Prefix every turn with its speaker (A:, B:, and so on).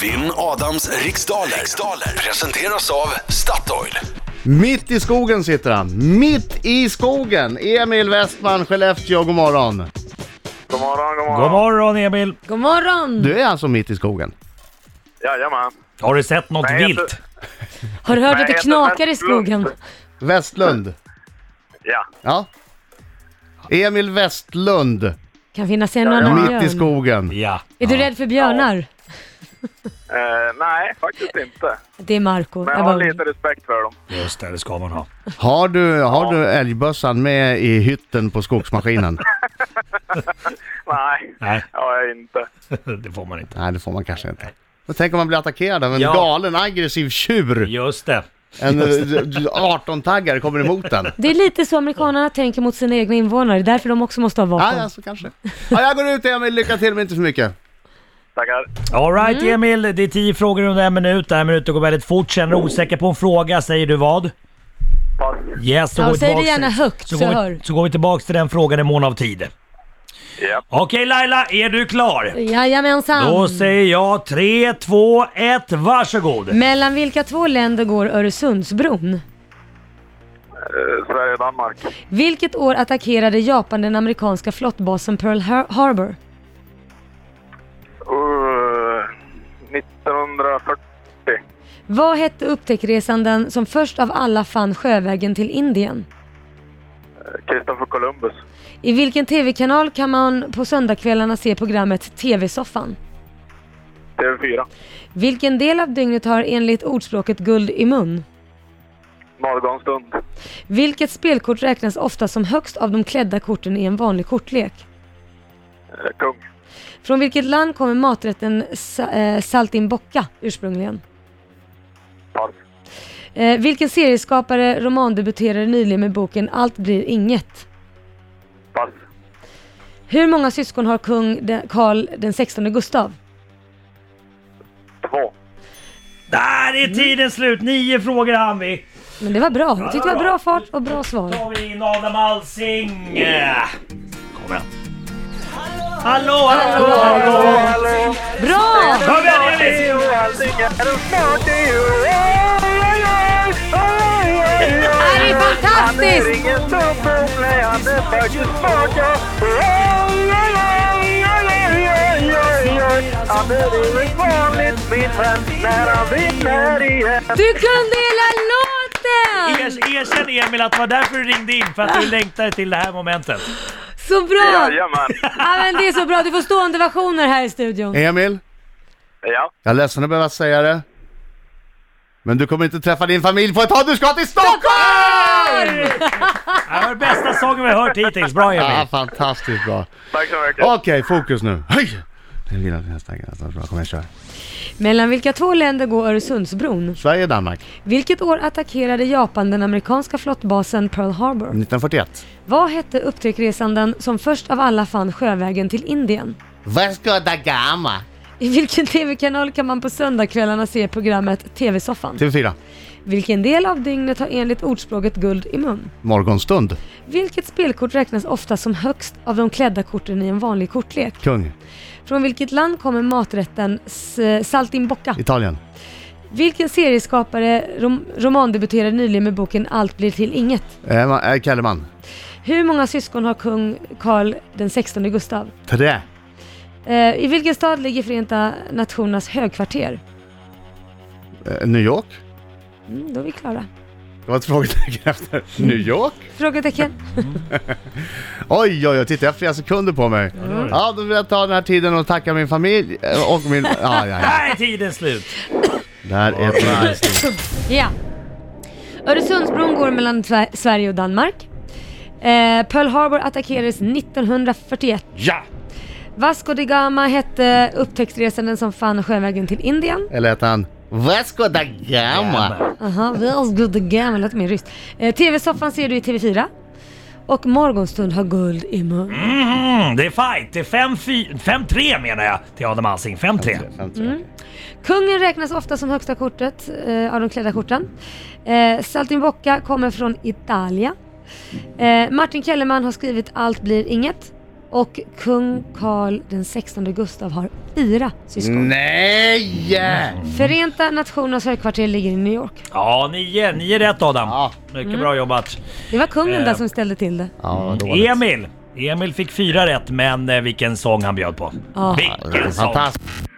A: Vinn Adams riksdaler. riksdaler presenteras av Statoil.
B: Mitt i skogen sitter han. Mitt i skogen! Emil Westman, Skellefteå, god morgon.
C: God morgon, god morgon.
D: God morgon Emil!
E: God morgon!
B: Du är alltså mitt i skogen?
C: Jajamän.
D: Har du sett något
C: Nej, jag
D: vilt?
C: tror-
E: Har du hört att det
C: Nej, jag
E: knakar
C: heter
E: i skogen?
C: Westlund.
B: Westlund?
C: Ja.
B: Ja. Emil Westlund,
E: Kan finnas en annan
B: mitt i
E: björn.
B: skogen.
D: Ja.
E: Är du rädd för björnar?
C: Eh, nej, faktiskt inte.
E: Det är Marco.
C: Men
E: Jag
C: jag har
E: bara-
C: lite respekt för dem.
D: Just det, det ska man ha.
B: Har du, har du älgbössan med i hytten på skogsmaskinen?
C: Nej,
D: Nej,
C: ja, jag är inte.
D: det får man inte.
B: Nej, det får man kanske inte. Men tänk om man blir attackerad av en
D: Ja.
B: galen aggressiv tjur.
D: Just det.
B: En eh, 18-taggare kommer emot en.
E: Det är lite så amerikanerna tänker mot sina egna invånare, därför de också måste ha
B: Ja,
E: vapen.
B: alltså kanske. Ja, jag går ut Emil, lycka till men inte för mycket.
C: Tackar.
D: All right
E: Mm.
D: Emil, det är tio frågor under en minut. En minut går väldigt fort. Känner
E: Oh.
D: du osäker på en fråga säger du vad?
C: Pass.
D: Yes, så
E: Ja,
D: går vi
E: säg det
D: tillbaks-
E: gärna högt, så
D: går vi,
E: jag hör.
D: Så går vi tillbaks till den frågan i mån av tid.
C: Ja.
D: Okej Laila, är du klar? Då
E: Jajamensan!
D: säger jag tre, två, ett, varsågod!
E: Mellan vilka två länder går Öresundsbron?
C: Eh, Sverige, Danmark.
E: Vilket år attackerade Japan den amerikanska flottbasen Pearl Har- Harbor?
C: Uh, 1940.
E: Vad hette upptäcktsresanden som först av alla fann sjövägen till Indien?
C: Eh, Christopher Columbus.
E: I vilken tv-kanal kan man på söndagskvällarna se programmet TV-soffan?
C: TV4.
E: Vilken del av dygnet har enligt ordspråket guld i mun?
C: Morgonstund.
E: Vilket spelkort räknas ofta som högst av de klädda korten i en vanlig kortlek?
C: Eh, Kung.
E: Från vilket land kommer maträtten sa- eh, saltimbocca ursprungligen?
C: Pass.
E: Eh, vilken serieskapare romandebuterade nyligen med boken Allt blir inget?
C: Pass.
E: Hur många syskon har kung de- Karl den 16 Gustav?
C: Två.
D: Där är tiden slut! Nio frågor hann vi.
E: Men det var bra. Jag tyckte det var bra fart och bra
D: Då
E: svar.
D: tar vi in Adam Alsing. Kommer han. Hallå, hallå, hallå!
E: Bra!
D: Kom igen Emil!
E: Det är fantastiskt! Du kunde hela låten!
D: Er- Erkänn Emil att det var därför du ringde in, för att du längtade till det här momentet.
E: Så bra!
C: Jajamän.
E: Ja, men det är så bra. Du får stående versioner här i studion.
B: Emil,
C: Ja.
B: jag är ledsen att behöva säga det. Men du kommer inte träffa din familj på ett tag, du ska till Stockholm!
D: Det här var den bästa sången vi har hört hittills. Bra
B: Ja,
D: Emil!
B: fantastiskt bra.
C: Tack så mycket.
B: Okej, fokus nu. Hej! Det är lilla nästa grej, alltså. Bra, kom igen kör.
E: Mellan vilka två länder går Öresundsbron?
B: Sverige, Danmark.
E: Vilket år attackerade Japan den amerikanska flottbasen Pearl Harbor?
B: 1941.
E: Vad hette upptäcktsresanden som först av alla fann sjövägen till Indien?
B: Vasco da Gama.
E: I vilken TV-kanal kan man på söndagskvällarna se programmet TV-soffan?
B: TV4.
E: Vilken del av dygnet har enligt ordspråket guld i mun?
B: Morgonstund.
E: Vilket spelkort räknas ofta som högst av de klädda korten i en vanlig kortlek?
B: Kung.
E: Från vilket land kommer maträtten s- saltimbocca?
B: Italien.
E: Vilken serieskapare rom- romandebuterade nyligen med boken Allt blir till inget?
B: Eh, ma- eh, Kellerman.
E: Hur många syskon har kung Karl den 16 Gustav?
B: Trä.
E: Eh, I vilken stad ligger Förenta Nationernas högkvarter?
B: Eh, New York.
E: Mm, då är vi klara.
B: Det var ett frågetecken efter. New York?
E: Frågetecken.
B: Oj, oj, oj, titta jag har flera sekunder på mig. Ja, då vill jag ta den här tiden och tacka min familj eh, och min... Ja, ja, ja.
D: Där är tiden slut!
B: Där är ett...
E: Ja. Öresundsbron går mellan Tver- Sverige och Danmark. Eh, Pearl Harbor attackerades 1941.
D: Ja!
E: Vasco da Gama hette upptäcktsresanden som fann sjövägen till Indien.
B: Eller hette han é Vasco da Gama?
E: Aha, Vasco da Gama lät mer ryskt. Eh, TV-soffan ser du i TV4. Och Morgonstund har guld i mun.
D: Mm, det är fight! Det är 5-4 5-3 menar jag till Adam Alsing. 5-3.
E: Kungen räknas ofta som högsta kortet eh, av de klädda korten. Eh, Saltimbocca kommer från Italia. Eh, Martin Kellerman har skrivit Allt blir inget. Och kung Karl den 16 Gustav har fyra
D: Mm.
E: syskon.
B: Nej!
E: Hum. Förenta Nationernas högkvarter ligger i New York.
D: Ja, nio. Nio rätt Adam.
B: Ja.
D: Mycket bra jobbat.
E: Det var kungen
D: Eh.
E: där som ställde till det.
B: Ja, dåligt.
D: Emil! Emil fick fyra rätt, men eh, vilken sång han bjöd på.
E: Ja.
D: Vilken sång!
B: Fantastiskt.